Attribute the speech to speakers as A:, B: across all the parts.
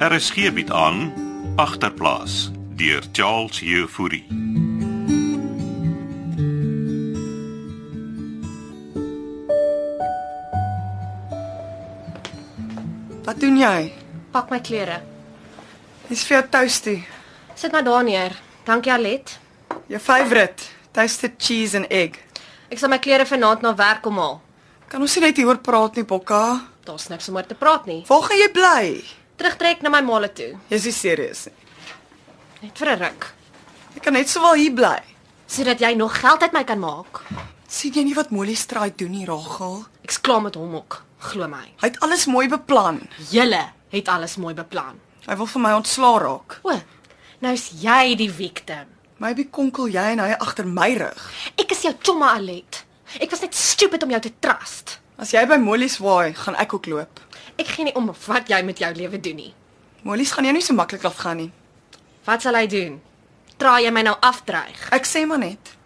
A: RSG bied Er aan Agterplaas deur Charles Jefouri.
B: Wat doen jy?
C: Pak my klere.
B: Dis vir jou toasty.
C: Sit maar daar neer. Dankie Alet.
B: Jou favourite, toasted cheese and egg.
C: Ek sal my klere vanaand na werk kom haal.
B: Kan ons nie net hieroor praat nie, Bokka?
C: Daar's niks om oor te praat nie.
B: Waar gaan jy bly?
C: Terugtrek na my maale toe,
B: Jy's nie serieus nie.
C: net vir 'n ruk,
B: Jy kan net sowel hier bly.
C: sodat jy nog geld uit my kan maak.
B: sien jy nie wat Molly Straat doen nie, Rachel?
C: Ek's klaar met hom ook, glo my.
B: Hy het alles mooi beplan.
C: Julle het alles mooi beplan.
B: Hy wil vir my ontslaa raak.
C: O, nou's jy die victim.
B: Maybe konkel jy en hy agter my rug.
C: Ek is jou chomma Alet. Ek was net stupid om jou te trust.
B: As jy by Molly swaai, gaan ek ook loop.
C: Ek gee nie om wat jy met jou lewe doen nie.
B: Molly's gaan jou nie so maklik laat gaan nie.
C: Wat sal hy doen? Traai jy my nou afdreig?
B: Ek sê maar net.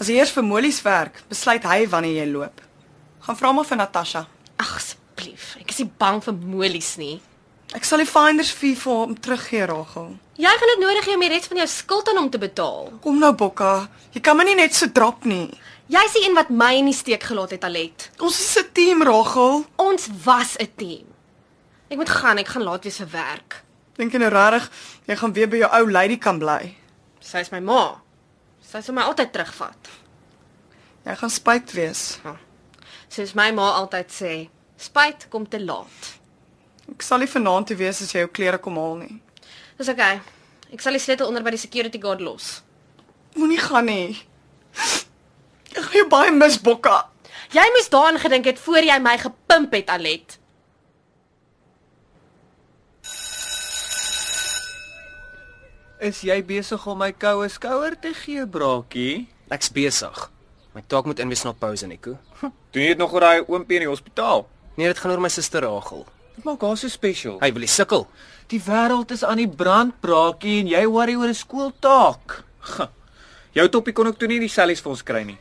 B: As jy eers vir Molly's werk, besluit hy wanneer jy loop. Gaan vra maar vir Natasha.
C: Ag asseblief, ek is nie bang vir molies nie.
B: Ek sal die finders fee vir hom teruggee, Rachel.
C: Jy gaan dit nodig hê om die res van jou skuld aan hom te betaal.
B: Kom nou, Bokka. Jy kan my nie net so drop nie.
C: Jy's die een wat my in die steek gelaat het, Alet.
B: Ons is 'n team, Rachel.
C: Ons was 'n team. Ek moet gaan, ek gaan laat wees vir werk.
B: Dink jy nou regtig jy gaan weer by jou ou lady kan bly?
C: Sy is my ma. Sy sal my altyd terugvat.
B: Jy gaan spyt wees.
C: Soos my ma altyd sê, spyt kom te laat.
B: Ek sal nie vanaand te wees as jy jou klere kom haal nie.
C: Dis okay. Ek sal die sleutel onder by die security guard los.
B: Moenie gaan nie. Ek gaan jou baie mis, Bokka.
C: Jy moes daaraan gedink het voor jy my gepimp het, Alet.
D: Is jy besig om my koue skouer te gee, braakie?
E: Ek's besig. My taak moet inwees na pause en ekko.
D: Doen jy dit nog oor daai oompie in die hospitaal?
E: Nee, dit gaan oor my suster Rachel.
D: Wat maak haar so spesiaal?
E: Hy wil die sukkel.
D: die wêreld is aan die brand, braakie, en jy worry oor 'n skooltaak. Huh. Jou toppie kon ook toe nie die sellies vir ons kry nie.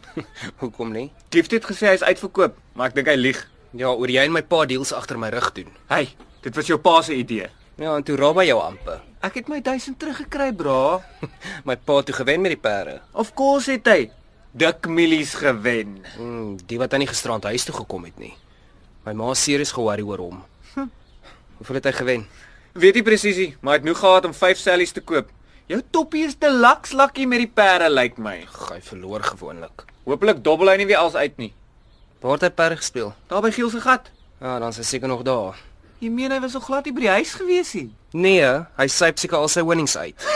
E: Hoekom nie?
D: Gift het gesê hy is uitverkoop, maar ek dink hy lieg.
E: Ja, oor jy en my pa deals agter my rug doen.
D: Hey, dit was jou pa se idee.
E: Ja, en toe raai by jou amper.
D: Ek het my 1000 teruggekry, bra.
E: My pa toe gewen met die perde.
D: Of course het hy dik milies gewen.
E: Mm, die wat aan die gisterand huis toe gekom het nie. My ma is serieus ge-worry oor hom. Hoeveel het hy gewen?
D: Weet nie presies nie, maar hy het genoeg gehad om 5 sellies te koop. Jou toppie is te laks lakkie met die perde, lyk like my.
E: Ag, hy verloor gewoonlik.
D: Hooplik dobbel hy nie weer als uit nie.
E: Waar het hy perde gespeel?
D: Daar by Giel se gat.
E: Ja, dan is hy seker nog daar.
D: Jy meen hy was so glad nie by die huis gewees nie.
E: Nee, hy syp seker al sy winnings uit.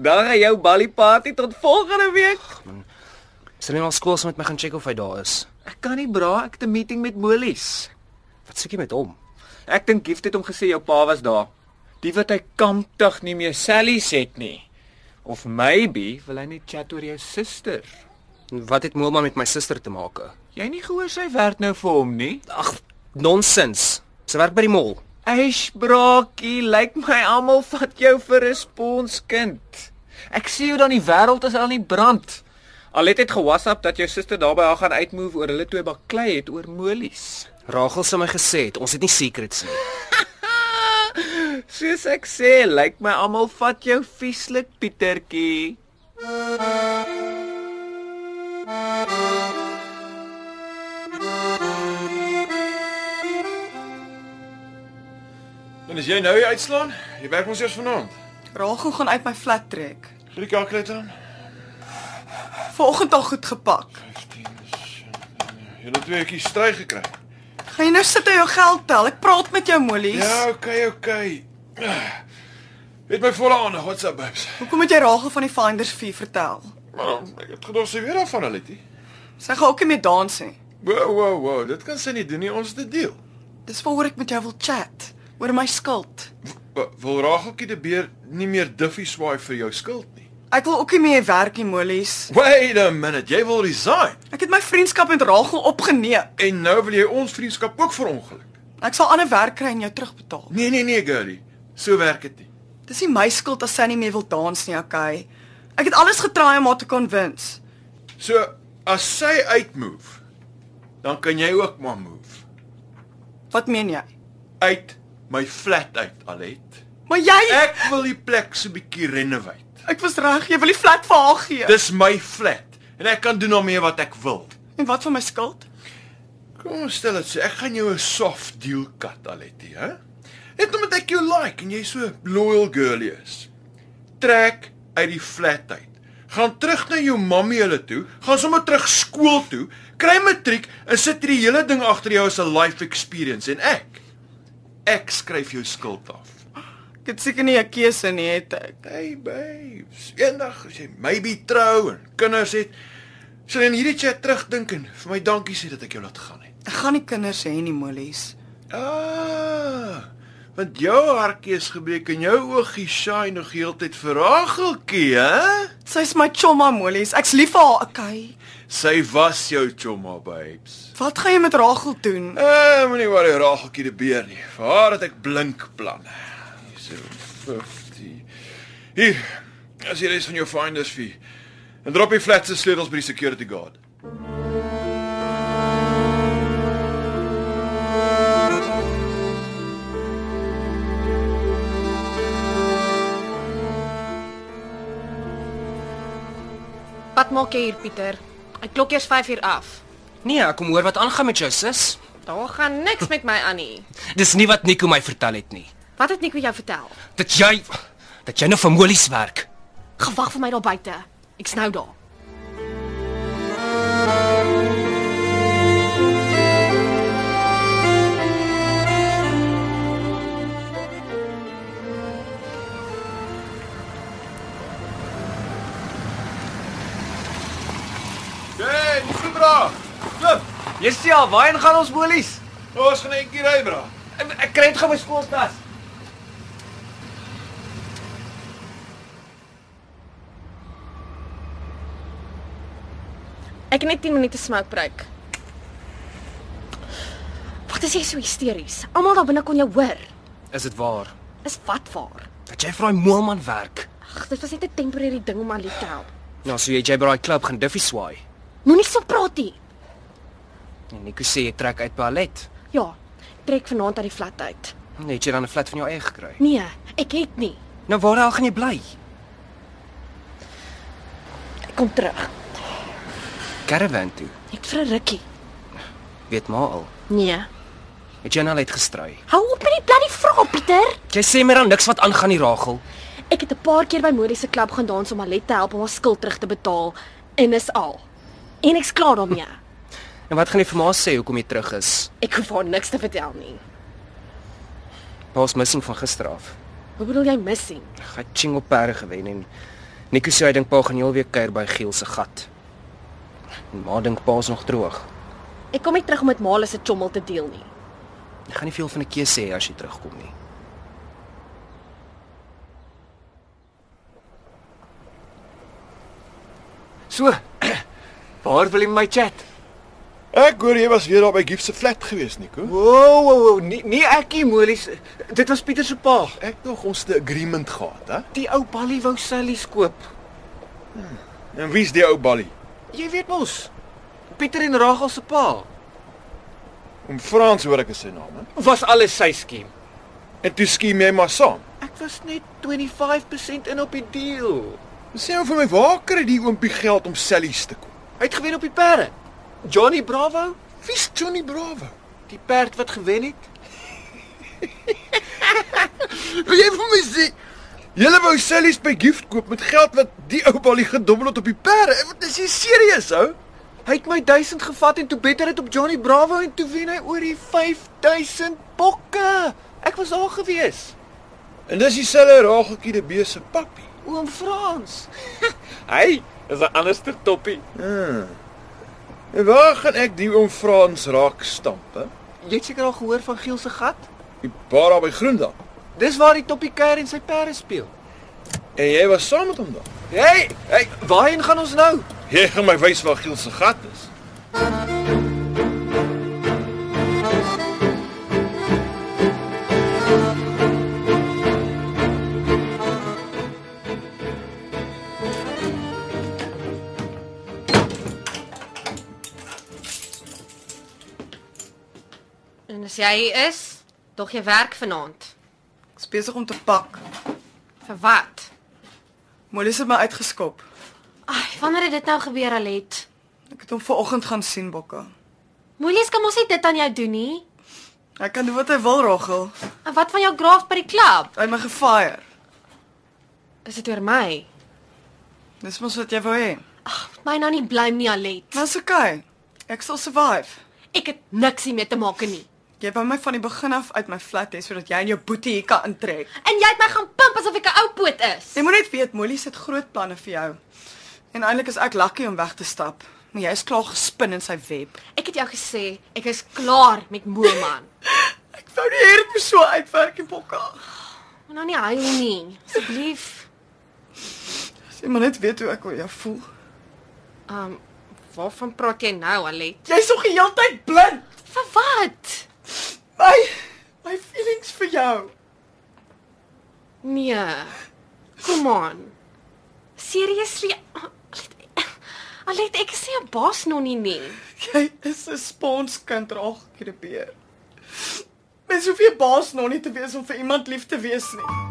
D: Dan gaan jou ballie party tot volgende week.
E: Sal jy na skool saam met my gaan check of hy daar is?
D: Ek kan nie bra, ek het 'n meeting met Molies.
E: Wat soek jy met hom?
D: Ek dink Gift het hom gesê jou pa was daar. Die wat hy kamptig nie meer sellies het nie. Of maybe wil hy net chat oor jou suster.
E: Wat het Moelman met my suster te maak?
D: Jy nie gehoor sy werk nou vir hom nie?
E: Ag, nonsens. Sy werk by die mall.
D: Eish braakie, lyk my almal vat jou vir 'n sponskind. Ek sien jou dan die wêreld is al in die brand. Alet het ge-WhatsApp dat jou suster daarby haar gaan uitmove oor hulle twee baklei het oor molies.
E: Rachel sê my gesê het, ons het nie secrets nie.
D: Soos ek sê, lyk my almal vat jou vieslik Pietertjie.
F: En as jy nou hier uitslaan, jy werk ons eers vanaand.
B: Rachel gaan uit my flat trek.
F: Grie kalkulator aan.
B: Vanoggend al goed gepak.
F: 15. eh, Jy het nou twee ekkie stry gekry.
B: Gaan jy nou sit en jou geld tel? Ek praat met jou, Molly.
F: Ja, okay, okay. Het my volle aandag. What's up, babes?
B: Hoekom het jy Rachel van die Finders 4 vertel?
F: Maar ek het gedog sy weer daarvan hulle dit.
B: Sy gaan ook nie meer dans nie.
F: Wow, wow, wow. Dit kan sy nie doen nie. Ons het 'n deal.
B: Dis waaroor ek met jou wil chat, oor my skuld.
F: W- Wil Rageltjie die beer nie meer diffie swaai vir jou skuld nie.
B: Ek wil ook nie meer werk nie, Mollies.
F: Wait a minute. Jy wil resign
B: Ek het my vriendskap met Rachel opgeneem.
F: en nou wil jy ons vriendskap ook verongeluk.
B: Ek sal ander werk kry en jou terugbetaal.
F: Nee, nee, nee, girlie. So werk dit nie.
B: Dis nie my skuld as sy nie meer wil dans nie, okay? Ek het alles getraai om haar te convince.
F: So as sy uitmove, dan kan jy ook maar move.
B: Wat meen jy?
F: Uit my flat uit, Alet.
B: Maar jy ek,
F: Ek wil die plek so 'n bietjie renovate.
B: ek was reg, jy wil die flat vir haar gee.
F: Dis my flat en ek kan doen daarmee wat ek wil.
B: en wat van my skuld?
F: Kom ons stel dit so, ek gaan jou 'n soft deal cut, Aletti, hè? Net omdat ek jou like en jy so loyal girlie is. Trek uit die flat uit. Gaan terug na jou mammie hulle toe, gaan sommer terug skool toe, kry matriek en sit hierdie hele ding agter jou as 'n life experience en ek ek skryf jou skuld af.
B: Ek het seker nie 'n keuse nie, het ek.
F: Hey babes, eendag as jy maybe trou en kinders het, sal jy in hierdie chat terugdink en vir my dankie sê dat ek jou laat gaan het.
B: Ek gaan nie kinders hê nie, Mollies.
F: Ah, want jou hartjie is gebreek en jou oogie shine nog heeltyd vir Rageltjie, hè?
B: Sy's my chomma, Mollies. Ek's lief vir haar, okay.
F: Sy was jou chomma babes.
B: Wat gaan jy met Rachel doen?
F: Eh, moenie worry Rageltjie die beer nie. Vir haar het ek blink planne. Hierso 50. Hier. As jy res van jou finders fee. En drop die flat se sleutels by die security guard.
C: Wat maak jy hier, Pieter? Ek klok eers 5 uur af.
E: Nee, ek kom hoor wat aangaan met jou sis.
C: Daar gaan niks met my aan nie.
E: Dis nie wat Nico my vertel het nie.
C: Wat het Nico jou vertel?
E: Dat jy dat jy nou vir Molies werk.
C: Gewag vir my daar buite. Ek's nou daar.
F: Hey, dis goed bra. Loop.
D: Jy's ja, waarheen gaan ons molies?
F: Ons gaan netjie ry bra.
D: Ek, ek kry dit gou my skooltas.
C: Ek het net 10 minute smoke break. Wat is jy so hysteries? Almal daar binne kon jou hoor.
E: Is dit waar
C: Is wat waar?
E: dat jy vir daai moelman werk?
C: Ag, dit was net 'n temporêre ding om aan te help.
E: Nou, so jy jy by daai klub gaan duffie swaai.
C: Moenie so praat nie.
E: En Nico sê jy trek uit ballet.
C: Ja, trek vanaand uit die flat uit.
E: Net jy dan 'n flat van jou eie gekry.
C: Nee, ek het nie.
E: Nou waar al gaan jy bly?
C: Ek kom terug.
E: Caravan toe.
C: Net vir 'n rukkie.
E: Weet maar al.
C: Nee.
E: Het jy nou al uitgestrui?
C: Hou op met die bloody vrae, Pieter.
E: Jy sê my dan niks wat aangaan nie, Ragel.
C: Ek het 'n paar keer by Modie se klub gaan dans om Alet te help om haar skuld terug te betaal en is al. En ek's klaar daarmee.
E: En wat gaan jy vir ma sê hoekom jy terug is?
C: Ek hoef haar niks te vertel nie.
E: Pa's missing van gister af.
C: Hoe bedoel jy missing?
E: Gaan ching op perde gewen en Nico sê hy dink pa gaan heelweek kuier by Giel se gat. En ma dink pa's nog droog.
C: Ek kom nie terug om met Male se chommel te deel nie.
E: Jy gaan nie veel van 'n keuse hê as jy terugkom nie.
D: So. Waar wil jy my chat?
F: Ek hoor jy was weer daar by Gift se flat gewees, Nico.
D: Wow, wow, wow, nie nie ekkie molies. Dit was Pieter se pa.
F: Ek nog ons 'n agreement gehad, hè?
D: Die ou Ballie wou Sally's koop.
F: En wie's die ou ballie?
D: Jy weet mos. Pieter en Ragel se pa
F: Om Frans hoor ek is sy naam. He?
D: was alles sy skiem.
F: En toe skiem jy maar saam.
D: Ek was net 25% in op die deal.
F: Sê nou vir my waar kry die oompie geld om sellies te koop?
D: Hy het gewen op die perde. Johnny Bravo,
F: Wie's Johnny Bravo?
D: die perd wat gewen het.
F: Wil jy vir my sê julle wou sellies by Gift koop met geld wat die ou ballie gedobbel het op die perde? Wat is jy serieus, ou?
D: Hy het my 1000 gevat en toe beter dit op Johnny Bravo en toe wen hy oor die 5000 bokke. Ek was daar gewees.
F: En dis dieselfde rageltjie die bees se pappie.
D: Oom Frans. hy is 'n anderste toppie.
F: En waar gaan ek die oom Frans raak stamp, hè?
D: Jy het seker al gehoor van Giel se gat?
F: Die paar daar by Groendal.
D: Dis waar die toppie kuier en sy perde speel.
F: En jy was saam met hom daar.
D: Hey, hey, waarheen gaan ons nou?
F: Jy gaan my wys waar Giel se gat is.
C: En as jy is, Dog jy werk vanaand?
B: Ek's besig om te pak.
C: Vir wat?
B: Mollies het my uitgeskop.
C: Ai, wanneer het dit nou gebeur, Alet?
B: Ek het hom vanoggend gaan sien, Bokka.
C: Moelies kan mos nie dit aan jou doen nie.
B: Hy kan doen wat hy wil, Rachel.
C: En wat van jou graaf by die klub?
B: Hy het my gefire.
C: Is dit oor my?
B: Dis mos wat jy wou hê.
C: Moet my nou nie blame nie, Alet.
B: Maar is okay. Ek sal survive.
C: Ek het niks hiermee te maak nie.
B: Jy wou my van die begin af uit my flat hê sodat jy en jou boetie hier kan intrek.
C: En jy het my gaan pimp asof ek 'n ou poot is.
B: Jy moet net weet Mollies het groot planne vir jou. En eintlik is ek lucky om weg te stap, maar jy's klaar gespin in sy web.
C: Ek het jou gesê, ek is klaar met Moelman.
B: Ek wou nie hê dit moet so uitwerk en bokka.
C: Moet nou nie huil nie, asseblief.
B: Jy moet net weet hoe ek oor jou voel.
C: Ehm, um, waarvan praat jy nou, Alet?
B: Jy's nog die hele tyd blind.
C: Vir wat?
B: My my feelings vir jou.
C: Nee. Kom aan. Seriously? Alet, ek is nie 'n baasnonnie nie. nee.
B: Jy is 'n sponskind raagkrepeer. Mens hoef nie 'n baas nog nie te wees om vir iemand lief te wees nie.